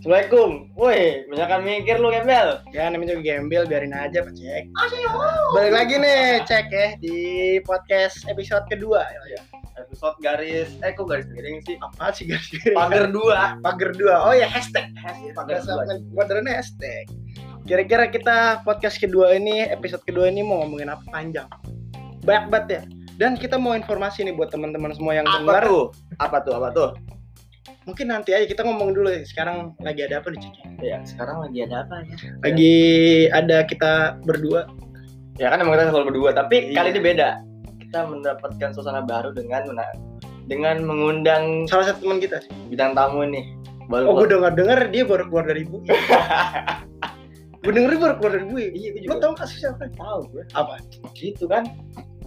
Assalamualaikum. Woi, banyakan mikir lu gembel. Ya namanya juga gembel biarin aja Pak Cek. Balik lagi nih Cek ya di podcast episode kedua. Oh, iya. Episode garis, eh kok garis miring sih? Apa sih guys? Pagar dua. Pagar dua. Oh ya hashtag. Hashtag Pagar pagar sama dua. modernnya hashtag. Kira-kira kita podcast kedua ini episode kedua ini mau ngomongin apa panjang? Banyak banget ya. Dan kita mau informasi nih buat teman-teman semua yang Apa dengar. tuh? Apa tuh? Apa tuh? Mungkin nanti aja kita ngomong dulu ya. Sekarang lagi ada apa nih Cek? Ya, sekarang lagi ada apa ya? Lagi ada kita berdua. Ya kan emang kita selalu berdua, tapi Iya. kali ini beda. Kita mendapatkan suasana baru dengan mena- dengan mengundang Salah satu teman kita. bintang tamu nih. Oh, Baru gue dengar dengar dia baru keluar dari bui. gue denger dia baru keluar dari bui. Iya, gue Lo juga tau kasusnya apa? tahu gue. Apa? Gitu kan?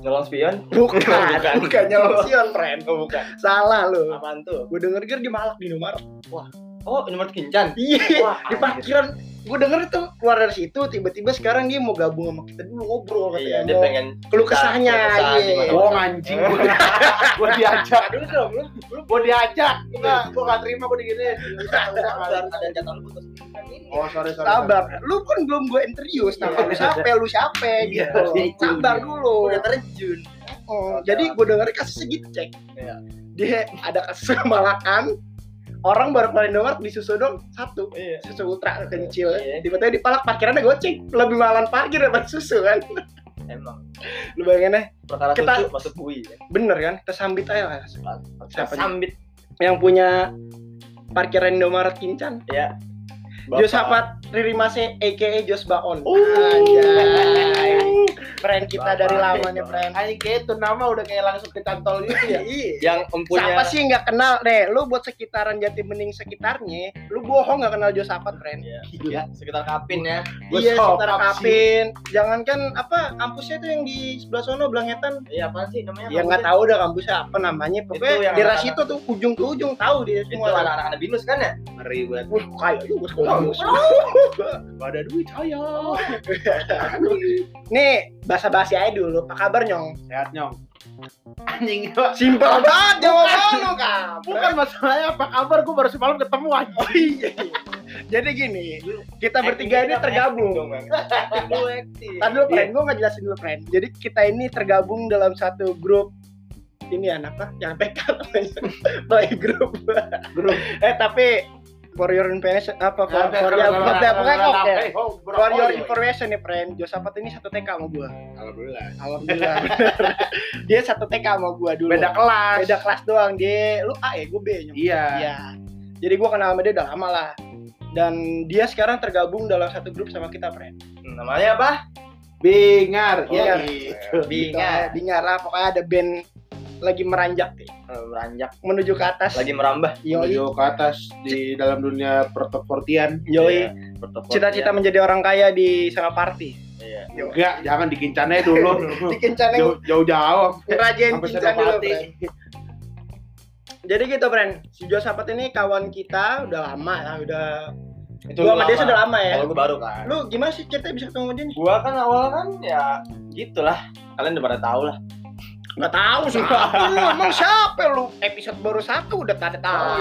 Nyolong spion? Bukan, Bukan. bukan nyolong Sion, friend. Oh, bukan. Salah lo. Apaan tuh? Gue denger dia di Malak di nomor. Oh, nomor kincan. Iya, Wah, di parkiran. Gue denger itu keluar dari situ, tiba-tiba sekarang dia mau gabung sama kita dulu ngobrol katanya. Iya, dia mau pengen keluh kesahnya. Keluh kesah di Iya. masa-masa. Oh, Bohong, anjing. gue diajak. Aduh dong, lu lu Eh, mau diajak. Enggak, gue gak terima gue digini. ada jadwal putus Oh, sorry, sorry. Sabar, lu pun belum gue interview, kenapa lu siapa, lu siapa Iya, gitu. iya, iya. Sabar dulu. Udah terjun. Oh, jadi gue dengar kasusnya gitu cek. Iya. Dia ada kasus malakan, orang baru kemarin dengar di susu dong satu Iya. susu ultra kecil. Iya. Tiba-tiba di palak parkirannya goceng, lebih malan parkir daripada susu kan. Emang Lu bayangin deh, perkara susu Kita- masuk bui ya. bener kan? Kita sambit aja lah. Siapa Sambit Yang punya parkiran Indomaret Kincan, ya. Josafat Ririmase aka Jos Baon. Oh. Anjay. Friend kita Bapak. dari lamanya friend. Anjing kayak gitu, itu nama udah kayak langsung kecantol gitu ya. Iya. yang empunya Siapa sih yang nggak kenal deh? Lu buat sekitaran Jati Bening sekitarnya, lu bohong nggak kenal Josafat, friend. Iya. sekitar kapin ya. iya, sok, sekitar apa sih? Kapin. Jangankan apa kampusnya tuh yang di sebelah sono Blangetan. Iya, apa sih namanya? Ya nggak tahu dah kampusnya apa namanya. Itu Pokoknya yang daerah anak-anak- situ tuh ujung ke ujung tahu dia Itu semua. anak-anak ada binus kan ya? Ngeri banget. Wih, kayak juga sekolah. Gak ada duit saya. Nih, basa-basi aja dulu. Apa kabar, Nyong? Sehat nyong. Anjing gua- Simpel banget jawaban lu, Kak. Bukan masalahnya apa kabar gue baru semalam ketemu anjing. Oh, iya. Jadi gini, Eh, kita bertiga Eh, ini tergabung. Lu acting. Tadi dulu, friend, gue nggak jelasin dulu, friend. Jadi kita ini tergabung dalam satu grup ini ya apa? Yang PK namanya. Play group. Grup. eh tapi for your information apa for, for your apa pokoknya kok ya. For your information nih, friend. Josafat ini satu TK sama gua. Alhamdulillah. iya. Alhamdulillah. dia satu TK sama gua dulu. Beda kelas. Beda kelas doang. Dia lu A ya, gua B. nyom. Iya. Iya. Jadi gua kenal sama dia udah lama lah. Dan dia sekarang tergabung dalam satu grup sama kita, friend. Hmm, Namanya apa? Bingar. Oh, iya. gitu. Bingar. Bingar. Bingar lah, pokoknya ada band lagi meranjak nih, Eh, Meranjak menuju ke atas. lagi merambah. Yoi. Menuju ke atas di dalam dunia pertoportian. Iya, Yoi. Portofolio. Cita-cita menjadi orang kaya di sama party. Iya. Enggak, jangan dikincannya dulu. Dikencaneng Jauh- Jauh-jauh. ngerajain Sampai kincan dulu, senopati. Bren. Jadi gitu, Bren. Si Josafat ini kawan kita udah lama lah, udah Itu gua sama lama. dia sudah lama ya. Kalau gue baru kan. Lu gimana sih ceritanya bisa ketemu sama dia nih? Gua kan awal kan ya gitulah. Kalian udah pada tahu lah. Gak tahu sih. lu emang siapa lu? Episode baru satu udah pada tahu. Oh,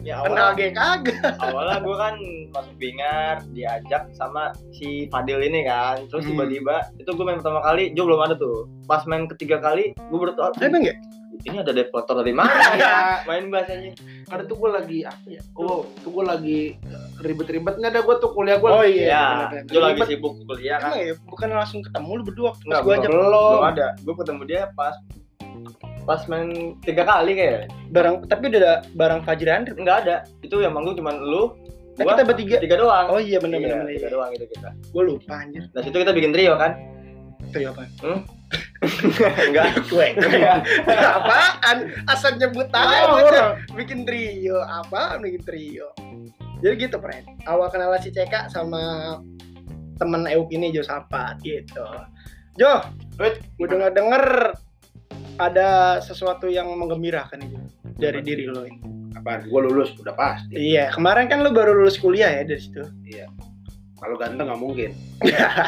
iya. Ya, Kenal gue kagak. awalnya gue kan masuk bingar diajak sama si Fadil ini kan terus Hmm. tiba-tiba itu gue main pertama kali Jo belum ada tuh pas main ketiga kali gue baru tau Emang ya? ini ada deflator dari mana ya Iya. main bahasanya karena tuh gue lagi apa ya oh tuh gue lagi eh, ribet-ribet nggak ada gue tuh kuliah gue Oh iya. ya bener-bener. Jo lagi Ribet. sibuk kuliah kan Emang ya? Bukan langsung ketemu lu berdua waktu pas Nggak, gua ajak. belum belum ada gue ketemu dia pas pas main tiga kali kayak barang tapi udah ada barang Fajri Andri. nggak ada itu yang manggung cuman lu Nah, gua, kita bertiga. tiga doang Oh iya benar Iya, benar benar. tiga doang itu kita Gue lupa anjir. nah situ kita bikin trio kan Hmm? Itu apa? enggak Gue. Apaan? Asal nyebut ya, tahu aja. Bikin trio apa? Bikin trio. Jadi gitu, friend. Awal kenalan si CK sama temen Euk ini Josafat gitu. Jo, Wait, gue denger denger ada sesuatu yang menggembirakan itu dari diri lo ini. apaan gue lulus udah pasti Iya, kemarin kan lo baru lulus kuliah ya dari situ. kalau ganteng nggak mungkin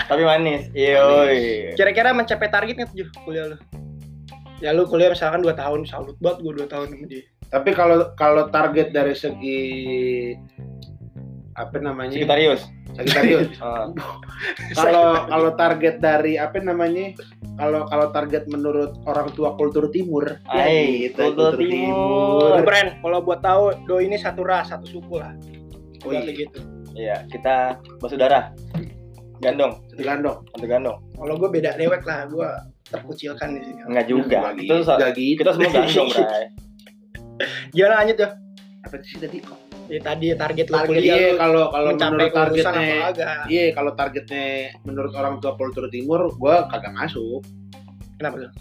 tapi manis Iya, yoi kira-kira mencapai targetnya tuh Juh, kuliah lu ya lu kuliah misalkan 2 tahun salut banget gue 2 tahun sama dia tapi kalau kalau target dari segi apa namanya Sekretarius. Sagittarius. Eh, kalau kalau target dari apa namanya kalau kalau target menurut orang tua kultur timur ya Hai, gitu, Kultur Timur. Brand, kalau buat tahu do ini satu ras, satu suku lah. Oh iya. Berarti gitu. Iya, kita bersaudara. Gandong, satu gandong satu gandong. Kalau gue beda dewek lah, gue terkucilkan di Hmm. sini. Enggak juga. Lagi- Itu so- lagi kita semua gandong, Bray. Gimana lanjut ya? apa sih tadi kok Ya, tadi target lu kuliah target iya lu kalau kalau mencapai menurut kelulusan targetnya apa agak. iya kalau targetnya menurut orang tua kultur timur gua kagak masuk Kenapa tuh?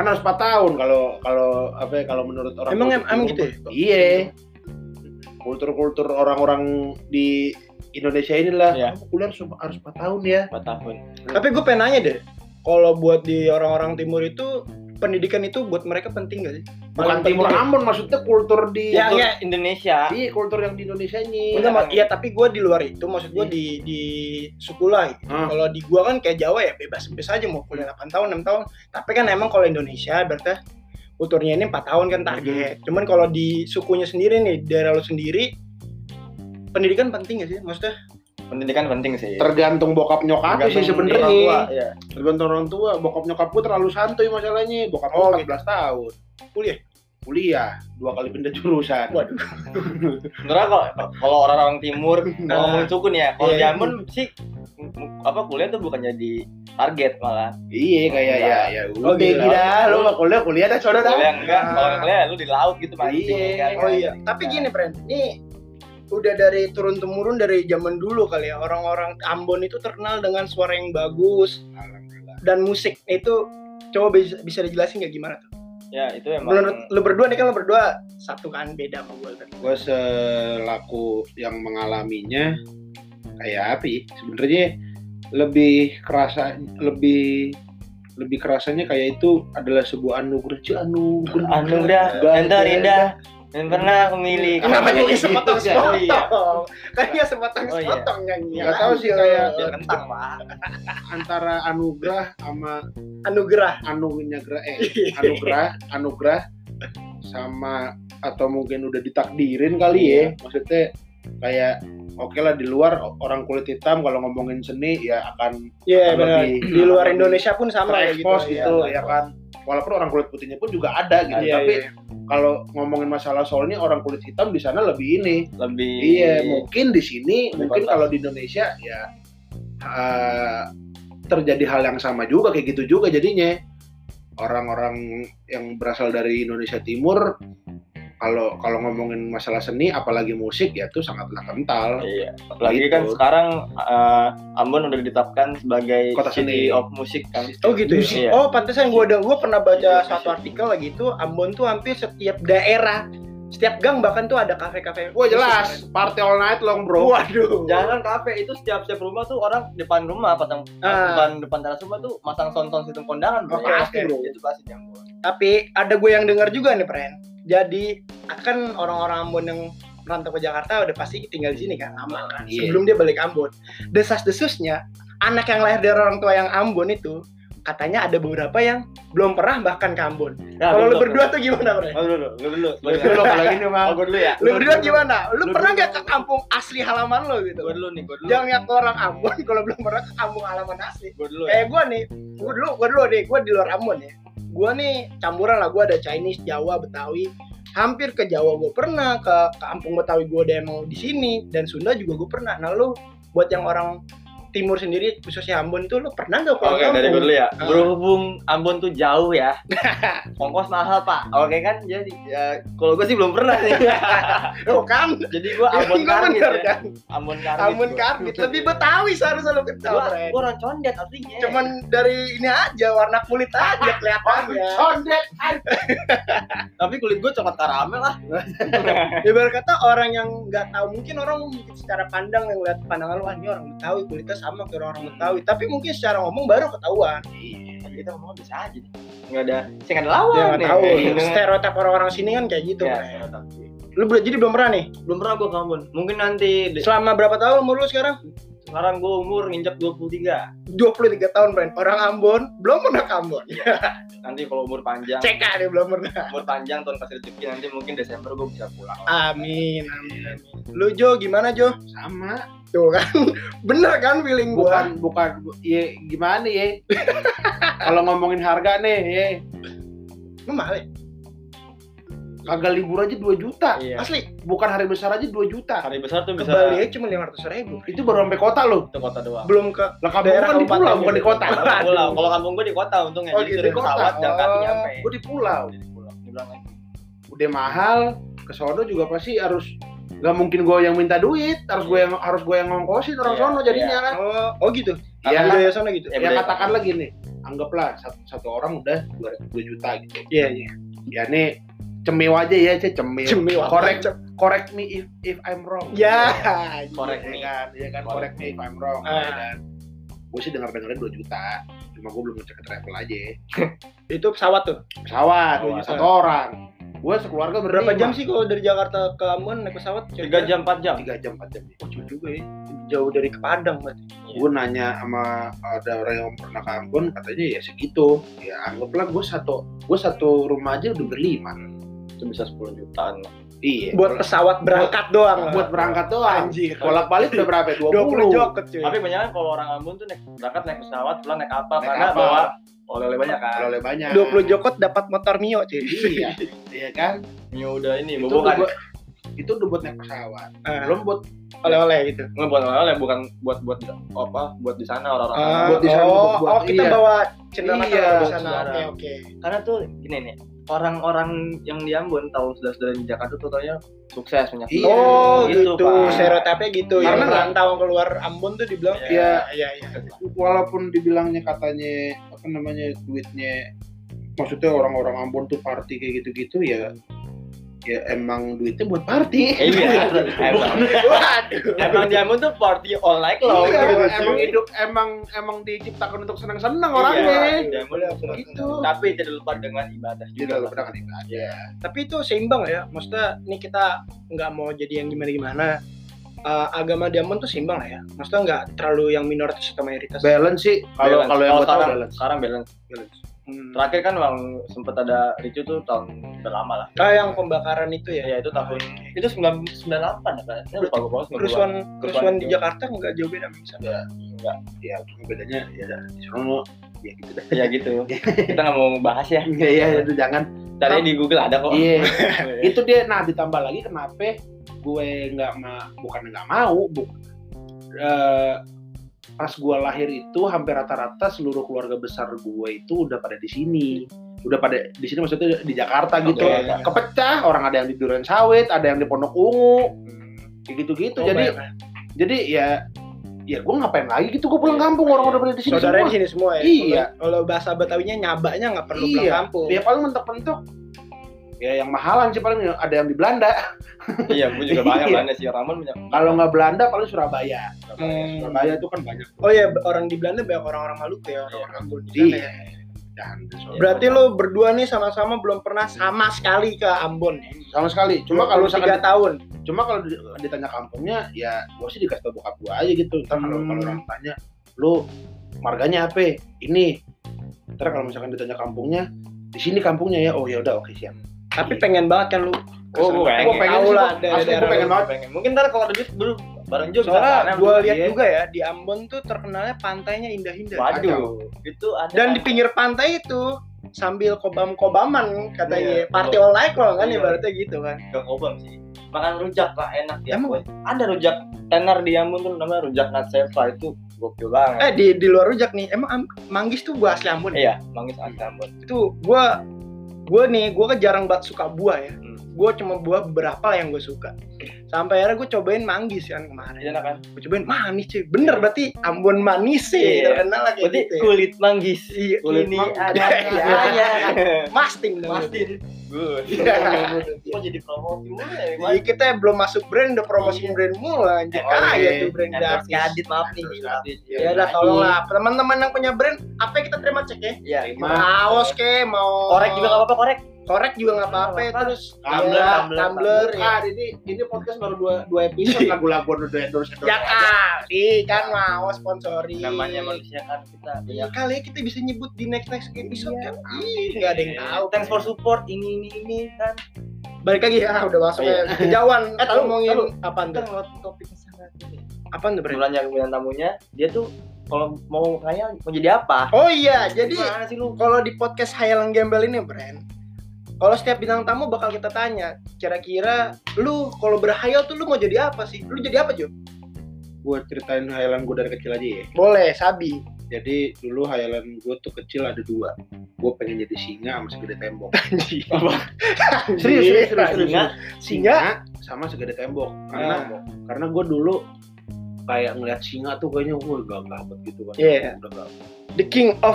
kan harus 4 tahun kalau kalau apa ya, kalau menurut orang Emang kultur em- emang timur, gitu ya? iya kultur-kultur orang-orang di Indonesia inilah Iya. kamu kuliah harus, harus 4 tahun ya 4 tahun. Tapi gue pengen nanya deh, kalau buat di orang-orang timur itu pendidikan itu buat mereka penting gak sih? bukan penting timur ya? Ambon maksudnya kultur di Ya, ya Indonesia. Iya kultur yang di Indonesia ini. Enggak, mak- iya tapi gue di luar itu, maksud gue di di suku lain. Hmm. Kalau di gua kan kayak Jawa ya bebas bebas aja mau kuliah 8 tahun 6 tahun. Tapi kan emang kalau Indonesia berarti kulturnya ini 4 tahun kan target. Cuman kalau di sukunya sendiri nih, di daerah lu sendiri pendidikan penting gak sih? Maksudnya Pendidikan penting sih. Tergantung bokap Tergantung nyokap orang sih tua, sebenarnya. iya. Tergantung orang tua. Bokap nyokap gue terlalu santuy masalahnya. Bokap Oh, gue 14 tahun. Kuliah? Kuliah. Dua kali pindah jurusan. Waduh. Sebenarnya kalau kalau orang-orang timur Nah. ngomongin suku nih ya, kalau Iya. di Ambon sih m- m- apa kuliah tuh bukan jadi target malah. Iya kayak ya ya. Oh, udah gila. gila. Lu mah kuliah kuliah dah saudara. Kuliah enggak, Nah. kalau kuliah lu di laut gitu mati. Iya. kan. Oh iya, tapi gini Pren, ini udah dari turun temurun dari zaman dulu kali ya orang-orang Ambon itu terkenal dengan suara yang bagus Alhamdulillah. dan musik itu coba bisa, bisa dijelasin nggak gimana tuh? Ya, itu emang Menurut lu berdua nih kan lu berdua satu kan beda sama gue kan. Gue selaku yang mengalaminya kayak api. Sebenarnya lebih kerasa lebih lebih kerasanya kayak itu adalah sebuah anugerah Cih, anugerah Ah, anugerah dan terindah dan pernah aku miliki. Kenapa Kenapa jadi gitu, sepotong Cak? Oh iya. sepotong? Kan ya sepotong Oh iya. sepotong kan, ya nyanyi. Nggak tahu sih, kayak- Biar kentang, Pak. antara anugerah sama anugerah. Iya, anugerah eh anugerah anugerah sama atau mungkin udah ditakdirin kali Iya. ya maksudnya kayak oke lah di luar orang kulit hitam kalau ngomongin seni ya akan Iya akan benar. lebih- Di luar akan Indonesia pun lebih sama kayak terekspos gitu. gitu, iya ya kan walaupun orang kulit putihnya pun juga ada gitu Iya, tapi iya. kalau ngomongin masalah soalnya orang kulit hitam di sana lebih ini Lebih Iya, mungkin di sini, Lebih mungkin pantas. kalau di Indonesia ya eh, terjadi hal yang sama juga kayak gitu juga jadinya. Orang-orang yang berasal dari Indonesia Timur kalau kalau ngomongin masalah seni apalagi musik ya itu sangatlah kental. Iya. Apalagi Gitu. kan sekarang eh, Ambon udah ditetapkan sebagai Kota City seni. of Music kan. Oh gitu Iya. ya. Oh pantesan gue ada gue pernah Iya, baca iya. satu artikel lagi itu Ambon tuh hampir setiap daerah, setiap gang bahkan tuh ada kafe-kafe. Wah jelas, party all night long bro. Waduh. Jangan kafe itu setiap setiap rumah tuh orang depan rumah pasang Ah. depan depan teras rumah tuh masang sonton sistem kondangan Oke, Bro. Nah, oke. Bro. Itu pasti jambu. Tapi ada gue yang dengar juga nih, Pren. Jadi akan orang-orang Ambon yang merantau ke Jakarta udah pasti tinggal di sini kan lama kan. Iya. Sebelum dia balik Ambon. Desas-desusnya anak yang lahir dari orang tua yang Ambon itu katanya ada beberapa yang belum pernah bahkan ke Ambon. Nah, Kalau lu dulu, berdua tuh gimana, Pren? dulu. Oh, dulu, dulu, dulu. Lu dulu kalau gini Oh, mah. gua dulu ya. Lu Lu berdua dulu. gimana? Lu Lu pernah dulu. nggak ke kampung asli halaman lo gitu? Gua dulu nih, gua dulu. Jangan lihat orang Ambon kalau belum pernah ke kampung halaman asli. Gua dulu. ya. Kayak gue Eh, nih, gue dulu, gue dulu deh, gue di luar Ambon ya. Gue nih campuran lah, gue ada Chinese, Jawa, Betawi. Hampir ke Jawa gue pernah, ke ke kampung Betawi gue ada yang mau di sini, dan Sunda juga gue pernah. Nah lu buat yang orang timur sendiri khususnya Ambon tuh lu pernah nggak Oke, pulang dari gue kampung? dulu ya. Ah. Berhubung Ambon tuh jauh ya. Ongkos mahal, Pak. Oke kan? Jadi ya, kalau gue sih belum pernah nih. Tuh kan, Jadi gue Ambon Gua Karmit bener ya. kan? Ambon Karmit. Ambon gua. karbit, lebih Betawi seharusnya lu kental, Gua Ren. gua orang condet aslinya. Cuman dari ini aja warna kulit aja kelihatannya. Condet. tapi kulit gue coklat karamel lah. Ya, Ibarat kata orang yang nggak tahu mungkin orang mungkin secara pandang yang lihat pandangan lu "Ah, ini orang Betawi kulitnya sama kayak orang, orang Betawi tapi mungkin secara ngomong baru ketahuan Kita ngomong bisa aja. Enggak ada, saya nggak ada lawan. dia Ya, Iya, nggak nih. Iya, tahu Dengan- stereotip orang-orang sini kan kayak gitu Ya, Bray. stereotip. lu belum jadi belum pernah nih belum pernah gue ke Ambon. Mungkin nanti di- selama berapa tahun umur lu sekarang Sekarang gue umur nginjak 23. 23 tahun Bren orang Ambon belum pernah ke Ambon Nanti kalau umur panjang, cek deh belum pernah umur panjang tahun kasih rezeki nanti mungkin Desember gue bisa pulang. amin amin amin lu Jo gimana Jo sama tuh kan bener kan feeling gua bukan bukan bu- ye gimana ye kalau ngomongin harga nih ye lu malik kagak libur aja 2 juta Iya. asli bukan hari besar aja 2 juta Hari besar tuh ke bisa Bali aja cuma 500 ribu itu baru sampai kota loh itu kota doang. belum ke lah kamu Daerah kan di kabupaten pulau bukan di gitu. kota Kalau Waduh. pulau, kalau kampung gue di kota untungnya. Oh, Jadi gitu, dari di kota. pesawat jam kaki Oh. nyampe. gue di pulau Jadi pulau. Dia bilang lagi. udah mahal ke sono juga pasti harus nggak mungkin gue yang minta duit harus gue yang harus gue yang ngongkosin orang Iya, sono jadinya kan oh oh gitu Iya. ya budaya sana gitu Ya, ya budaya- katakanlah gini anggaplah satu, satu orang udah 2 juta gitu iya iya ya nih cemil aja ya cek cemil cemil Korek. correct me if if I'm wrong ya Korek. ya kan ya kan correct me if I'm wrong Ah. ya kan gue sih dengar dengarnya 2 juta cuma gue belum ngecek ke travel aja itu pesawat tuh pesawat Pesawat. satu orang gue sekeluarga berapa jam sih kalau dari Jakarta ke Ambon naik pesawat Tiga jam, empat jam. tiga jam empat jam oh, jauh juga ya jauh dari ke Padang berarti gue nanya sama ada orang yang pernah ke Ambon katanya ya segitu ya anggaplah gue satu gue satu rumah aja udah berlima Itu bisa 10 jutaan. iya buat pesawat berangkat doang buat berangkat doang anjir bolak balik udah berapa 20 20 joket cuy Tapi banyak kan kalau orang Ambon tuh naik berangkat naik pesawat, pulang naik apa Naik karena apa? bawa oleh-oleh banyak kan. oleh banyak 20 jokot dapat motor Mio cuy iya iya kan Mio udah ini itu bukan udah buat, itu udah buat naik pesawat Ah, belum buat oleh-oleh gitu nggak buat oleh-oleh bukan buat buat apa buat di sana orang-orang. Ah, buat di sana, oh, buat- buat- oh, kita iya. bawa cenderamata Iya, Ah. ke sana oke saudara. oke karena tuh gini nih orang-orang yang di Ambon tahu saudara-saudara di Jakarta tuh taunya sukses punya Iya, oh gitu, gitu, Pak. stereotipnya gitu Karena yang nggak- merantau keluar Ambon tuh dibilang Iya. iya iya walaupun dibilangnya katanya apa namanya duitnya maksudnya orang-orang Ambon tuh party kayak gitu-gitu ya ya emang duitnya buat party Eh, gitu iya emang, waduh emang di Ambon tuh party all night long Iya, gitu, emang cuy. hidup emang emang diciptakan untuk senang-senang Iya, orangnya di Ambon tuh party. gitu tapi tidak lupa dengan ibadah juga Iya. tidak pernah ibadah tapi itu seimbang ya maksudnya ini kita nggak mau jadi yang gimana gimana agama di Ambon tuh seimbang lah ya maksudnya nggak terlalu yang minoritas atau mayoritas balance sih kalau Balance. kalau yang gue tahu sekarang balance sekarang balance Hmm. terakhir kan bang sempet ada Ricu tuh tahun berlama lah Ah, yang pembakaran itu ya ya itu tahun itu 98 ya kan Ini lupa gue banget kerusuhan kerusuhan di juga. Jakarta nggak jauh beda sama di sana. enggak ya cuma bedanya ya di sono ya gitu deh ya gitu kita nggak mau bahas ya ya ya itu jangan cari di Google ada kok iya itu dia nah ditambah lagi kenapa gue nggak ma bukan nggak mau bu Eh, pas gue lahir itu hampir rata-rata seluruh keluarga besar gue itu udah pada di sini udah pada di sini maksudnya di Jakarta gitu Oke. kepecah orang ada yang di Duren Sawit ada yang di Pondok Ungu kayak gitu-gitu Oh, jadi banyak. jadi ya ya gue ngapain lagi gitu gue pulang kampung orang udah pada di sini saudara semua di sini semua ya. Iya. Kalau bahasa Betawinya nyabaknya nggak perlu Iya. pulang kampung. ya paling mentok-mentok ya yang mahalan sih paling ada yang di Belanda iya gue juga banyak Iya. banget sih Ramon banyak kalau nggak Belanda paling Surabaya Hmm. Surabaya itu kan banyak Oh ya orang di Belanda banyak orang-orang Maluku Iya. ya orang-orang Ambon di sana ya. dan di Surabaya. Berarti lo berdua nih sama-sama belum pernah sama sekali ke Ambon ya. sama sekali cuma kalau tiga misalkan tahun. cuma kalau di- ditanya kampungnya ya gue sih dikasih tau bokap gue aja gitu ntar kalau Hmm. kalau orang tanya lu marganya apa ini ntar kalau misalkan ditanya kampungnya di sini kampungnya ya oh ya udah oke siap Gitu. Tapi pengen banget kan lu. Oh, gua pengen. Gua pengen Tahu sih, lah, gua- daerah- asli gua daerah pengen lu. banget. pengen mungkin ntar kalau ada duit dulu bareng juga Iya. Soalnya Karena gue mungkin lihat dia- juga ya di Ambon tuh terkenalnya pantainya indah-indah. waduh Kacau. itu ada Dan di pinggir pantai itu sambil kobam-kobaman katanya Iya. party all night loh kan Iya. ibaratnya gitu kan. gak kobam sih makan rujak lah enak ya Emang? ada rujak tenar di Ambon tuh namanya rujak Natsepa itu gokil banget Eh di di luar rujak nih, emang am- manggis tuh buah asli Ambon. ya? iya manggis asli Ambon Itu gua gua nih, gua kan jarang banget suka buah ya. Hmm. Gua cuma buah beberapa lah yang gue suka. Sampai akhirnya gue cobain manggis kan kemarin. Iya, enak kan Gue cobain manis cuy. Bener berarti Ambon manis sih. Iya. Terkenal lah kayak berarti gitu. ya. kulit manggis Iya, kulit ini manggis ada Iya. Masting dong. Mastin gue Iya. kok jadi promosi mulu ya Jadi kita belum masuk brand udah promosiin Iya. brand mulu anjir. Oh, Ah iya. ya tuh brand Endorse artis. Kadit, maaf nih Endorse gila. Ya iya. udah tolonglah teman-teman yang punya brand apa yang kita terima cek ya? Iya, Terima. gimana? Kaos ke mau korek juga gak apa-apa korek korek juga nggak apa-apa ya, terus Tumbler, ya, tumbler, tumbler, ya. Ah, ini ini podcast baru dua dua episode lah. lagu-lagu udah endorse ya kali kan mau sponsori. namanya manusia kan kita banyak Iya kali ya kita bisa nyebut di next next episode Iya. kan. Ih, nggak ada yang tahu. thanks for support ini ini ini kan Balik lagi ya, udah masuk Iya. ya. Kejauhan. Eh, tahu, ngomongin tahu. apa kita tuh? ngelot topik yang sangat ini Apa tuh Bren? kebetulan yang bilang tamunya dia tuh kalau mau kaya mau jadi apa Oh iya, jadi Gimana sih lu kalau di podcast Hayalan Gembel ini, Bren, kalau setiap bintang tamu bakal kita tanya, kira-kira lu kalau berhayal tuh lu mau jadi apa sih? Lu jadi apa, Jo? gue ceritain hayalan gue dari kecil aja ya Boleh, Sabi. jadi dulu hayalan gue tuh kecil ada dua gue pengen jadi singa sama segede tembok Serius, serius, serius, serius. Singa? Singa? sama segede tembok karena karena gue dulu kayak ngeliat singa tuh kayaknya gue gagah banget gitu kan Iya. udah gak The King of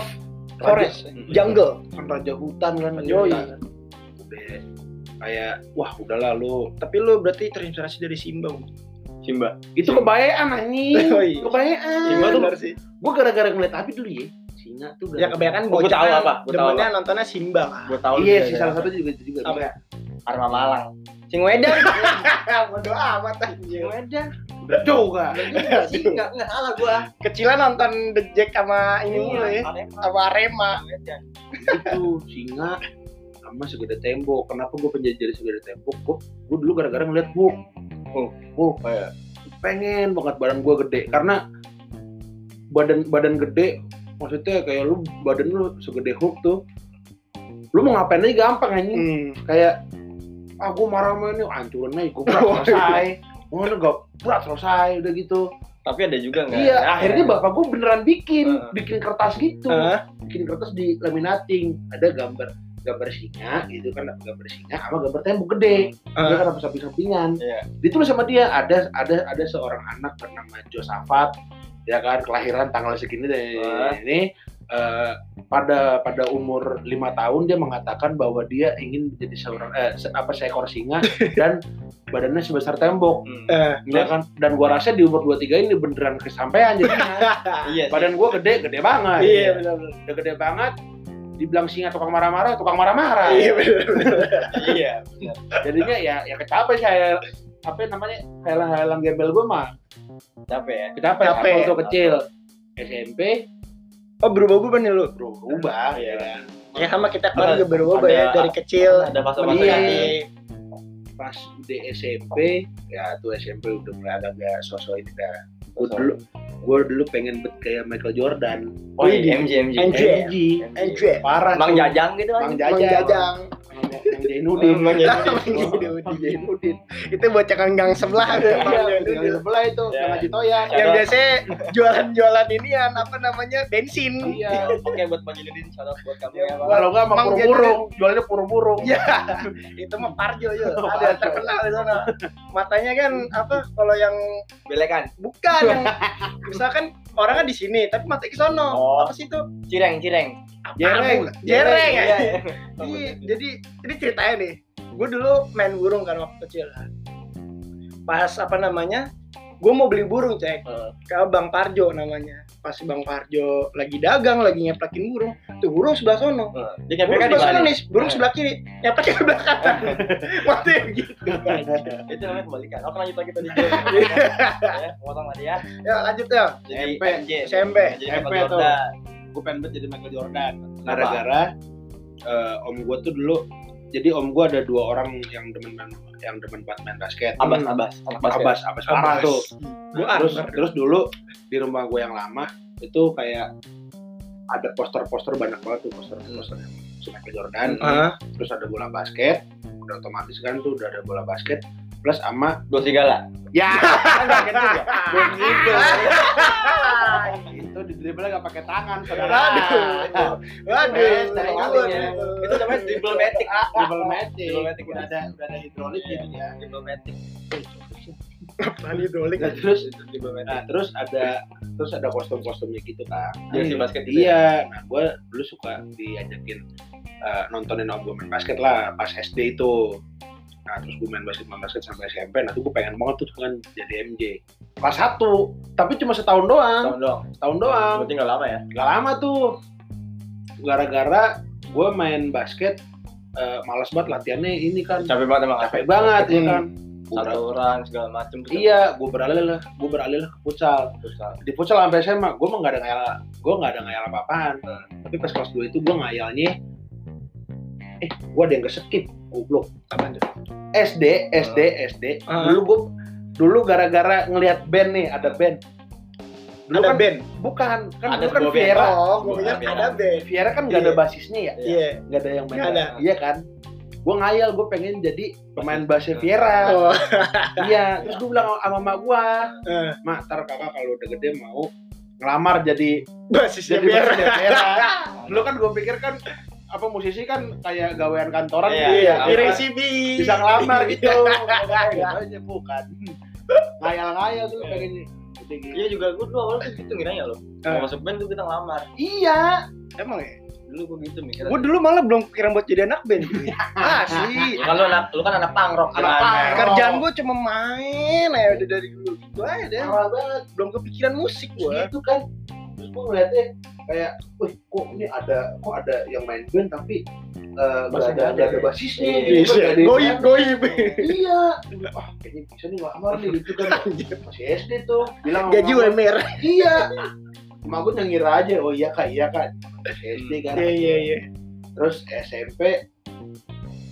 Forest, Jungle. kan raja hutan kan Hmm, Raja Yoi. hutan. Udah kayak wah udahlah lu Tapi lu berarti terinspirasi dari Simba. Bung. Simba itu kebayaan anjing Yoi. kebayaan Simba tuh- Bener sih. gue gara-gara ngeliat api dulu ya singa tuh Ya gara-gara- kebanyakan Oh, gua bocah tahu apa, gua tahu Demennya nontonnya Simba lah. gue tau iya sih salah satu juga itu juga Apa ya? ya. Arma Malang Sing Wedan Bodoh amat Sing anjir. Wedan Bener juga Enggak sih enggak enggak salah gue Kecilan nonton The Jack sama ini Iya. mulu ya. Arema Sama Arema. itu singa sama segede tembok kenapa gue penjajah dari segede tembok gue gue dulu gara-gara ngeliat Hulk Hulk Hulk kayak pengen banget badan gue gede karena badan badan gede maksudnya kayak lu badan lu segede Hulk tuh lu mau ngapain aja gampang anjing Hmm. kayak ah gue marah sama ini hancurin aja gue berat selesai Oh, gak berat selesai udah gitu. Tapi ada juga Ya, enggak Iya, akhirnya bapak gue beneran bikin, Heeh. bikin kertas gitu Hah? bikin kertas di laminating ada gambar gambar singa gitu kan gambar singa sama gambar tembok gede dia kan habis samping-sampingan Hmm. Iya. ditulis sama dia ada ada ada seorang anak bernama Josafat ya kan kelahiran tanggal segini deh Wah. ini eh, pada pada umur lima tahun dia mengatakan bahwa dia ingin menjadi seorang eh, se- apa seekor singa dan badannya sebesar tembok Hmm. Eh, ya kan dan gua rasa di umur 23 ini beneran kesampaian jadi Iya sih. badan gua gede gede banget Iya benar benar. udah gede banget dibilang singa tukang marah-marah tukang marah-marah Iya benar. Iya jadinya ya ya kecape sih hayal, apa namanya hayalan-hayalan gembel gue mah Capek ya kecape Capek. Apa waktu kecil SMP Oh berubah-ubah nih lu. Nah, berubah ya iya. kan Ya sama kita kan juga berubah Ada- ya dari kecil. Ada masa-masa Iya. Iya. yang pas di SMP ya tuh SMP udah mulai agak sosok ini dah gue Sosok. dulu gue dulu pengen bet kayak Michael Jordan Oh iya, Wih, MJ, MJ. MJ. MJ Enjoy. parah Bang tuh. Jajang Iya, gitu Bang kan. Jajang Mang Jajang. Bang Jainuddin Bang Jajang. Iya. Mang Jainuddin. Bang Jainuddin Itu bocah kan gang sebelah. tuh, Mang yang di Jainuddin. sebelah itu Ya. sama Citoyan Yang biasa jualan-jualan ini ya apa namanya bensin. iya Oke buat Bang Jajang, shout out buat kamu Ya, ya, Bang. Iya. kalau nggak sama Mang burung-burung jualnya burung-burung Ya, itu mah Parjo ya. Ada Parjo. terkenal di sana. Matanya kan apa kalau yang Belekan. bukan yang misalkan orangnya di sini tapi mata ke sono. Oh, Apa sih itu? cireng, cireng. Apa? Jereng. Jereng. Iya, ya. iya. Iya, jadi ini ceritanya nih. Gue dulu main burung kan waktu kecil. Pas apa namanya? Gue mau beli burung cek Heeh. ke Bang Parjo namanya. Pas si Bang Parjo lagi dagang, lagi nyeplakin burung. Tuh burung sebelah sono. Dia Burung kan di sebelah sono Bali. nih, burung sebelah kiri. Nyeplakin sebelah kanan. Mati gitu. Itu namanya kebalikan. Oke, lanjut lagi tadi. Ya, potong tadi ya. Ya lanjut ya. Jadi SMP. MJ. SMP. Jadi SMP Michael tuh. Jordan. gue pengen banget jadi Michael Jordan gara-gara eh, om gue tuh dulu jadi om gue ada dua orang yang demen main- yang demen banget main basket Abas, abas. Anak basket. abas ya? abas parah Abas. tuh Gua Nah, terus Arbar. terus dulu di rumah gue yang lama itu kayak ada poster-poster banyak banget tuh poster-poster yang si Michael Jordan Ah, terus ada bola basket udah otomatis kan tuh udah ada bola basket plus sama Dua serigala. ya Enggak gitu ya. Dua gitu. itu di dribble nggak pakai tangan saudara Aduh. Mes, Waduh. dari Aduh. atasnya. ya. Itu namanya dribble matic. dribble magic Dribble magic. ya. udah ada udah ada hidrolik Iya. gitu ya Dribble matic. Apaan hidrolik? Nah, terus Itu dribble matic. nah, terus ada terus ada kostum-kostumnya gitu kan. Yang di basket gitu Iya, nah gue dulu suka diajakin eh, nontonin om gue main basket lah pas SD itu. Nah terus gue main basket main basket sampai SMP. Nah tuh gue pengen banget tuh kan jadi MJ. Kelas 1, tapi cuma setahun doang. Tahun dong. Setahun doang. Berarti nggak lama ya. Gak lama tuh. Gara-gara gue main basket eh, malas banget latihannya ini kan Capek banget emang. capek banget ya Hmm. kan Gua satu beral- orang segala macem gitu. iya gue beralih lah gue beralih lah ke futsal Futsal. di futsal sampai SMA gue emang gak ada ngayal gue gak ada ngayal apa apaan tapi pas kelas 2 itu gue ngayalnya eh gue ada yang kesekip goblok Apaan tuh? SD SD SD Ah. dulu gue dulu gara-gara ngelihat band nih ada band dulu Ada kan band. bukan kan Ada dulu kan sebuah band. Viera Oh, gue pikir Bukan, ada band. Viera kan gak ada Iya. basisnya ya Iya. gak ada yang Nggak main ada. iya kan gue ngayal gue pengen jadi pemain bassnya Viera Oh, iya terus gue bilang sama mama gue eh, mak ntar kakak kalau udah gede mau ngelamar jadi basisnya jadi biar. basisnya Viera dulu kan gue pikir kan apa musisi kan kayak gawean kantoran Iya, gitu ya. apa? Piring CB. bisa ngelamar gitu Iya. Nggak aja bukan ngayal-ngayal tuh Iya. pengen gede gitu. Iya juga gue dulu awalnya tuh gitu ngiranya loh. Mau Eh. masuk band tuh kita ngelamar. iya Emang ya? Dulu gue gitu mikir. Gue dulu malah belum kepikiran buat jadi anak band. Nah, Asli. Ya kan lu anak lu kan anak pangrok Anak kan? punk. Kerjaan gue cuma main aja udah dari dulu gitu aja deh. parah banget Belum kepikiran musik gue. gitu kan terus gue ngeliatnya kayak wih kok ini ada kok ada yang main band tapi eh, nggak Masih ada ada nggak ada ya? basisnya Iya, gitu kan. Nggak ada yang Goib, goib. iya Gua bilang, ah kayaknya bisa nih ngelamar nih gitu kan masih SD tuh bilang sama Gaji mama, UMR. iya emak gue yang ngira aja oh iya kak iya kak Masih SD kan Hmm. Iya, iya, iya. terus SMP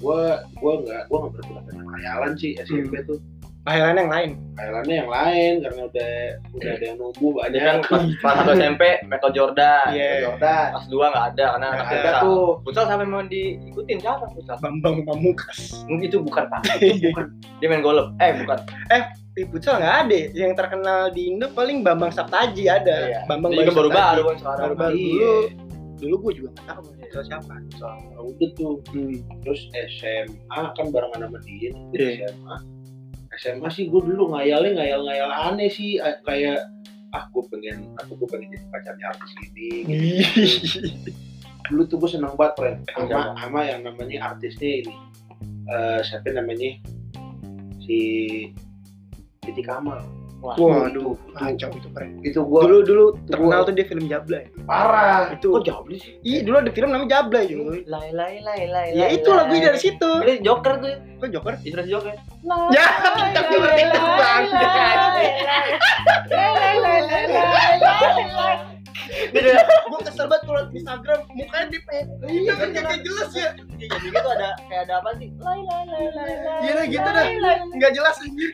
gue gue nggak gue nggak berbuat dengan khayalan sih SMP Hmm. tuh Akhiran yang lain. khayalannya yang lain karena udah udah ada yang nunggu Jadi banyak kan pas pas satu SMP Michael Jordan. Iya. Jordan Pas dua nggak ada karena anak Nggak ada futsal. tuh Futsal sampai mau diikutin siapa futsal? Bambang Pamungkas. Mungkin itu bukan pak. Itu bukan. Dia main golem. Eh bukan. Di futsal nggak ada. Yang terkenal di Indo paling Bambang Saptaji ada. Iya. Bambang Dia juga baru baru Saptaji. kan sekarang. Baru-baru Iya. dulu. Dulu gue juga nggak tahu futsal siapa. Nah, udah tuh terus SMA kan barengan sama dia nih, Iya. SMA SMA sih gue dulu ngayalnya ngayal ngayal aneh sih a- kayak ah gue pengen aku gue pengen jadi pacarnya artis ini gitu. dulu tuh gue seneng banget Pren Iya, sama sama yang namanya artisnya ini Eh siapa namanya si Titi Kamal Wah. Waduh, kacau itu keren. itu gue Dulu dulu terkenal tuh dia film Jabla. ya. parah Itu. kok jawab sih Iya, dulu ada film namanya Jabla cuy. Lai lai lai lai. Ya lai, itu lai. lagunya dari situ. Ini Joker tuh. Kok Joker? Inspirasi Joker. Ya, kita ngerti itu bang. Gue kesel banget kalau di Instagram mukanya di Iya, kan nggak jelas ya. Iya, jadi itu ada kayak ada apa sih? Lai lai lai lai. lai, Iya, gitu lai, dah. lai. Nggak jelas anjir. Ah,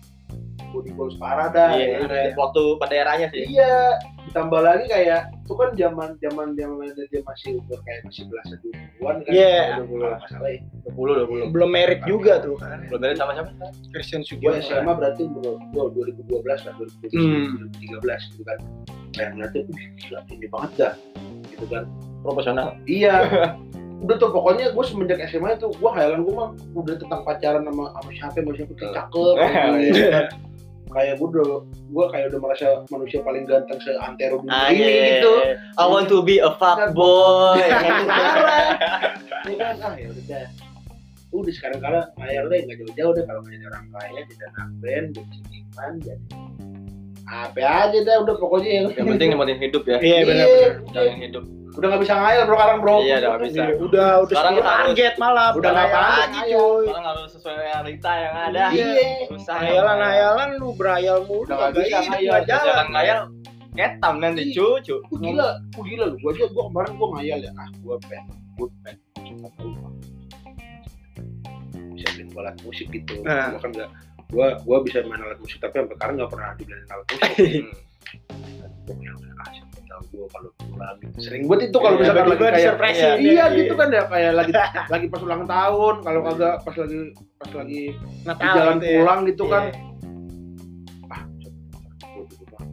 body goals parah dah ya. Iya, Keren. waktu pada eranya sih. Iya, ditambah lagi kayak itu kan zaman zaman zaman dia masih umur kayak masih belasan duluan kan. Iya. Udah mulai masalah ya. 20 20. Belum merit juga tuh kan. Belum beres sama siapa? Christian Gue Iya. Sugiono. SMA berarti umur gua 2012 lah, 2012, Hmm. 2013 gitu kan. Kayak ngeliatnya, wih gila ini banget dah. Gitu kan. Profesional. Iya. udah tuh pokoknya gue semenjak SMA itu gue hayalan gue mah udah tentang pacaran sama sama siapa sama siapa kayak cakep Eh, iya. gitu kan. kayak gue udah gue kayak udah merasa manusia paling ganteng se antero dunia Ah, ini iya, gitu iya, iya. I want to be a fuck boy. parah ini kan ah ya udah udah sekarang kala ngayalnya nggak jauh-jauh deh kalau jadi orang kaya jadi anak band jadi seniman jadi apa aja deh udah pokoknya yang Yang penting nikmatin hidup ya. Iya, benar. Iya, Jangan hidup. udah nggak bisa ngayal bro sekarang bro Iya, udah nggak bisa. Udah, udah Sekarang sepuluh harus- target malah. udah nggak apa-apa lagi cuy. Kalau nggak harus sesuai realita yang ada. iya Susah. Hayalan-hayalan lu berayal mulu Udah nggak kagak bisa hidup, ngayal, nggak jalan. Jangan ngayal. Ketam nanti Iya. cucu. Gua gila, gua gila lu. Gua aja gua kemarin gua ngayal ya, ah gua pengen, gua pengen punya rumah. Bisa beliin gua alat musik gitu. Nah. Gua kan enggak gua gua bisa main alat musik tapi sampai sekarang enggak pernah dibeliin alat musik. Hmm. Gua bilang, ah siapa tahu gua kalau pulang gitu. Sering buat itu kalau Iya, misalkan lagi tiba-tiba kayak disurprisein Iya, deh. Iya gitu kan ya kayak lagi lagi pas ulang tahun kalau kagak pas lagi pas lagi di Natal jalan Iya. gitu ya. pulang gitu kan Iya. ah gua di rumah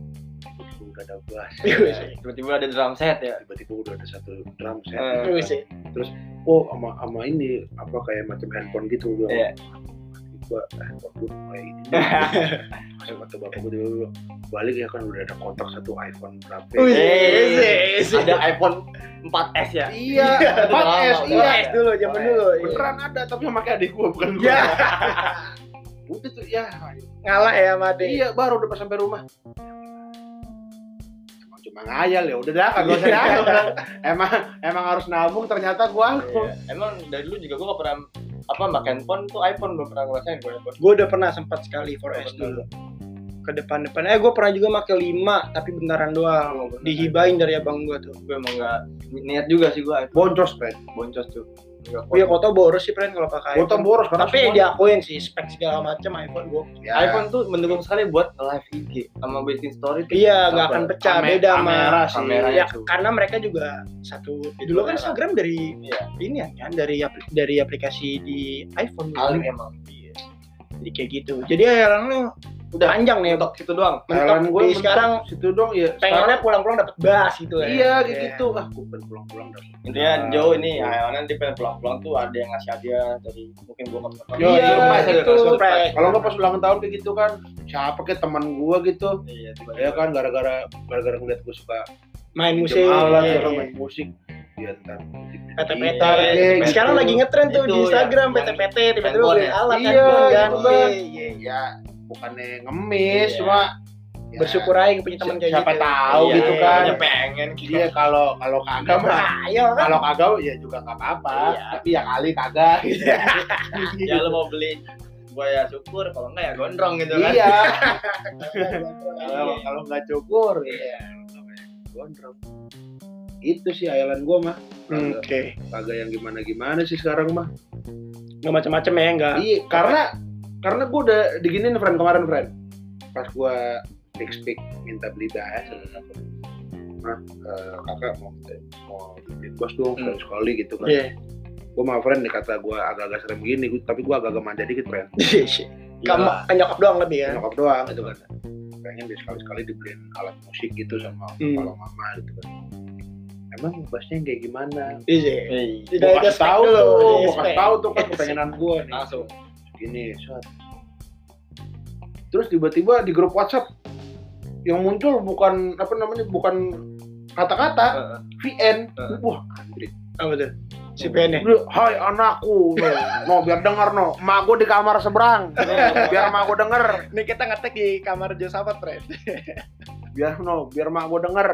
tiba-tiba udah ada bass Iya. Tiba-tiba ada drum set ya. tiba-tiba udah ada satu drum set Eh. Itu sih. oh sama sama ini apa kayak macam handphone gitu gua Iya. gua "Ah, handphone gua mulai ini sama tuh bapak gua dulu balik ya kan udah ada kontak satu iPhone berapa Iya. Wih, Eh, sih. Ada iPhone 4S ya. iya Udah lama, udah 4S iya lama. Iya, dulu zaman dulu. iya. beneran ada tapi sama kayak adik gua bukan Ya, gua udah tuh Iya, ya ngalah ya sama Ade. iya baru udah pas sampai rumah cuma ngayal ya udah dah kagak usah ngayal emang emang harus nabung ternyata gua Iya. Emang dari dulu juga gue gak pernah apa pakai handphone tuh iPhone belum pernah ngerasain gue handphone. Gue udah pernah sempat sekali 4S dulu. Ke depan-depan. Eh gue pernah juga pakai 5 tapi bentaran doang. Dihibain dari abang gue tuh. Gue emang gak niat juga sih gue iPhone boncos pren boncos tuh. Nggak Oh iya kota boros sih pren kalau pakai gua iPhone. boros karena Tapi semua- diakuin sih spek segala macam iPhone gue. Ya, iPhone tuh mendukung sekali buat live IG sama built-in story. tuh. Iya nggak Apa? akan pecah kame- beda sama kamera sih kamera ya itu. karena mereka juga satu Itu dulu kan merah. Instagram dari Iya. ini ya kan dari apli- dari aplikasi di iPhone dulu. Alim emang. Iya. jadi kayak gitu jadi akhirnya lu udah panjang nih mentok Itu doang. mentok Thailand gua di mentok sekarang situ dong ya pengennya pulang-pulang dapat bas gitu sekarang- ya iya kayak Iya. gitu ah gua pengen pulang-pulang dah Intinya jauh ini ya, karena di pengen pulang-pulang tuh ada yang ngasih hadiah dari mungkin bokap nyokap. Yo, Iya, surprise, itu, surprise. surprise. gitu. kalau nggak pas ulang tahun kayak gitu kan siapa kayak teman gua gitu Iya, tiba-tiba. ya kan gara-gara gara-gara ngeliat gua suka main pinjam musik alat iya, orang iya. main musik ya ntar gitu. PT-PT Iya, Iya, PT-PT. sekarang lagi ngetren tuh Itu di Instagram yang- PT-PT tiba-tiba handphone beli ya? alat Iya, kan gitu iya, kan. iya, iya. ya bukannya ngemis Iya. cuma ya, bersyukur aja punya teman si- kayak siapa Iya. gitu tahu Iya, gitu iya, kan iya, pengen gitu. iya kalau kalau kagak mah ayo kan kalau kagak ya juga nggak apa-apa Iya. tapi ya kali kagak ya lu mau beli gua ya syukur kalau enggak ya gondrong gitu kan iya kalau kalau nggak cukur ya gondrong itu sih ayalan gua mah Hmm, kagak oke kagak yang gimana gimana sih sekarang mah nggak macam-macam ya nggak iya karena karena gua udah diginin friend kemarin friend pas gua tik tik minta beli dah nah, eh, kakak mau mau beli bos dong Hmm. sekali gitu kan iya gue sama friend nih kata gue agak-agak serem gini gua- tapi gue agak-agak manja dikit friend kamu Iya. kan nyokap doang lebih ya nyokap doang gitu kan pengen dia sekali-sekali dibeliin alat musik gitu sama Hmm. kalau mama gitu kan emang bassnya yang kayak gimana iya Iya. Tidak gue ada kasih spek tahu dulu, tuh tidak ada gue spek. Ah. kasih tahu tuh kan kepengenan gue nih langsung gini Sat. terus tiba-tiba di grup WhatsApp yang muncul bukan apa namanya bukan kata-kata Heeh. VN Heeh. wah anjir apa tuh si ya? Penny Dia, Hai anakku, no, no biar denger no, mak gue di kamar seberang, Iya, biar mak gue denger, ini kita ngetek di kamar Josapat Fred biar no, biar mak gue denger.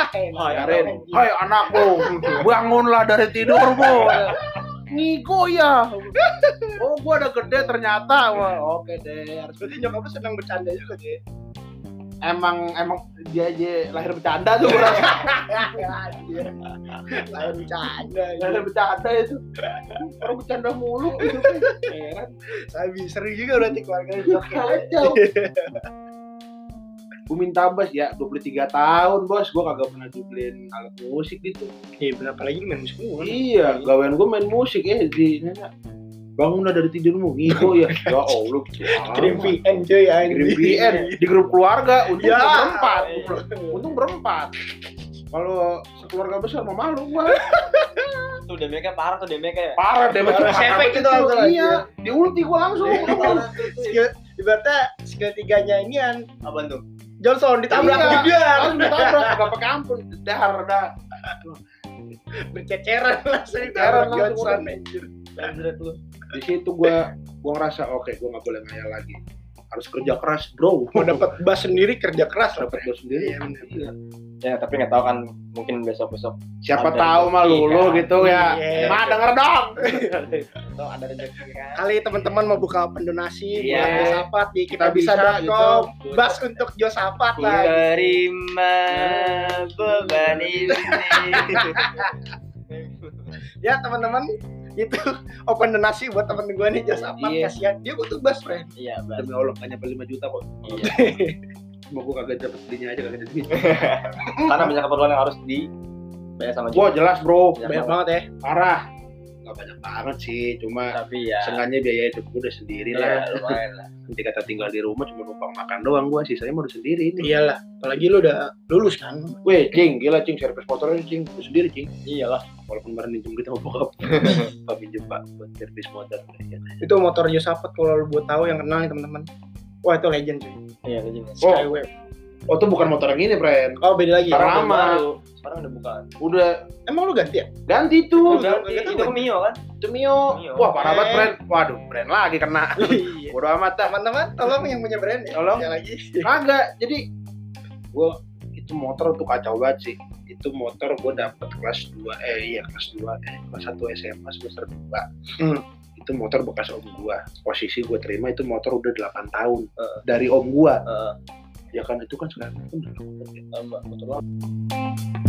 Hai, Biarin. Hai anakku, bangunlah dari tidurmu. Ngigo ya. Oh gue udah gede ternyata, wah oke deh. harus- berarti nyokapnya senang bercanda juga deh Emang emang dia aja lahir bercanda tuh, gua rasa. lain bercanda lahir bercanda itu. Orang bercanda mulu gitu kan. Heran. sabi seru juga berarti keluarga Kacau. Bumin Tabas ya 23 tahun bos gue kagak pernah dibeliin alat musik gitu iya berapa lagi main musik mulu iya gawean gue main musik ya di bangunlah dari tidurmu ngigo ya ya allah kirim VN cuy ya Kirim VN di grup keluarga untung Ya. berempat Iya. untung berempat kalau sekeluarga besar mau malu gue tuh damage-nya parah tuh ya. damage-nya parah deh Parah. Efek itu langsung. Iya. iya diulti gue langsung skill ibaratnya skill tiganya ini kan apa ya. tuh Johnson ditabrak Iya. juga langsung ditabrak gak pakai ampun dahar dah berceceran langsung Berceceran ditabrak langsung. Johnson anjir Anjret lu di situ gua gua ngerasa oke gua nggak boleh ngayal lagi harus kerja keras bro mau dapat bass sendiri kerja keras lah dapat gua sendiri Iya, bener. Iya. ya tapi nggak tahu kan mungkin besok besok siapa Ada tahu mah rezeki, lu lu kan? gitu ya Iya. ma denger dong atau ada rezeki kan kali teman-teman mau buka pendonasi Iya. buat Josapat di kita, gitu. Iya. Kita bisa, Oh, bas untuk Josapat lah terima beban ini ya teman-teman itu open donasi buat temen gue nih Josapat Iya. kasihan dia butuh bas friend iya Bas. demi allah hanya nyampe 5 juta kok Iya. mau gua kagak dapet belinya aja kagak ada duit karena banyak keperluan yang harus di bayar sama juga gua jelas bro Banyak banget. banget ya parah nggak banyak banget sih cuma tapi ya sengaja biaya hidup gua udah sendiri ya, lah lumayan lah nanti kata tinggal di rumah cuma numpang makan doang gua sisanya mau sendiri ini iyalah apalagi lu udah lulus kan weh cing gila cing servis motornya cing gua sendiri cing iyalah walaupun kemarin minjem duit sama bokap pak minjem pak buat servis motor ya itu motor Josapat kalau lu buat tahu yang kenal nih teman-teman wah itu legend cuy iya lu gimana? Oh. Skywave Oh tuh bukan motor yang ini, Pren. oh beda lagi Sekarang- Sekarang udah Lama. baru. sekarang udah bukan Iya, Udah emang lu ganti ya ganti tuh. udah nggak itu tahu. itu Mio kan Itu Mio. Mio. Wah parah Eh. banget, Pren. Waduh, Pren lagi kena. Iya. Bodo amat dah. Iya. teman-teman tolong yang punya brand ya Tolong. Sekali lagi Kagak. Jadi gua kita itu motor tuh kacau banget sih itu motor gue dapet kelas 2 eh iya kelas 2 eh kelas 1 SMA semester 2 Hmm. itu motor bekas om gue posisi gue terima itu motor udah 8 tahun dari om gue Heeh. ya kan itu kan sekarang kan udah lama banget ya. Sama, betul banget.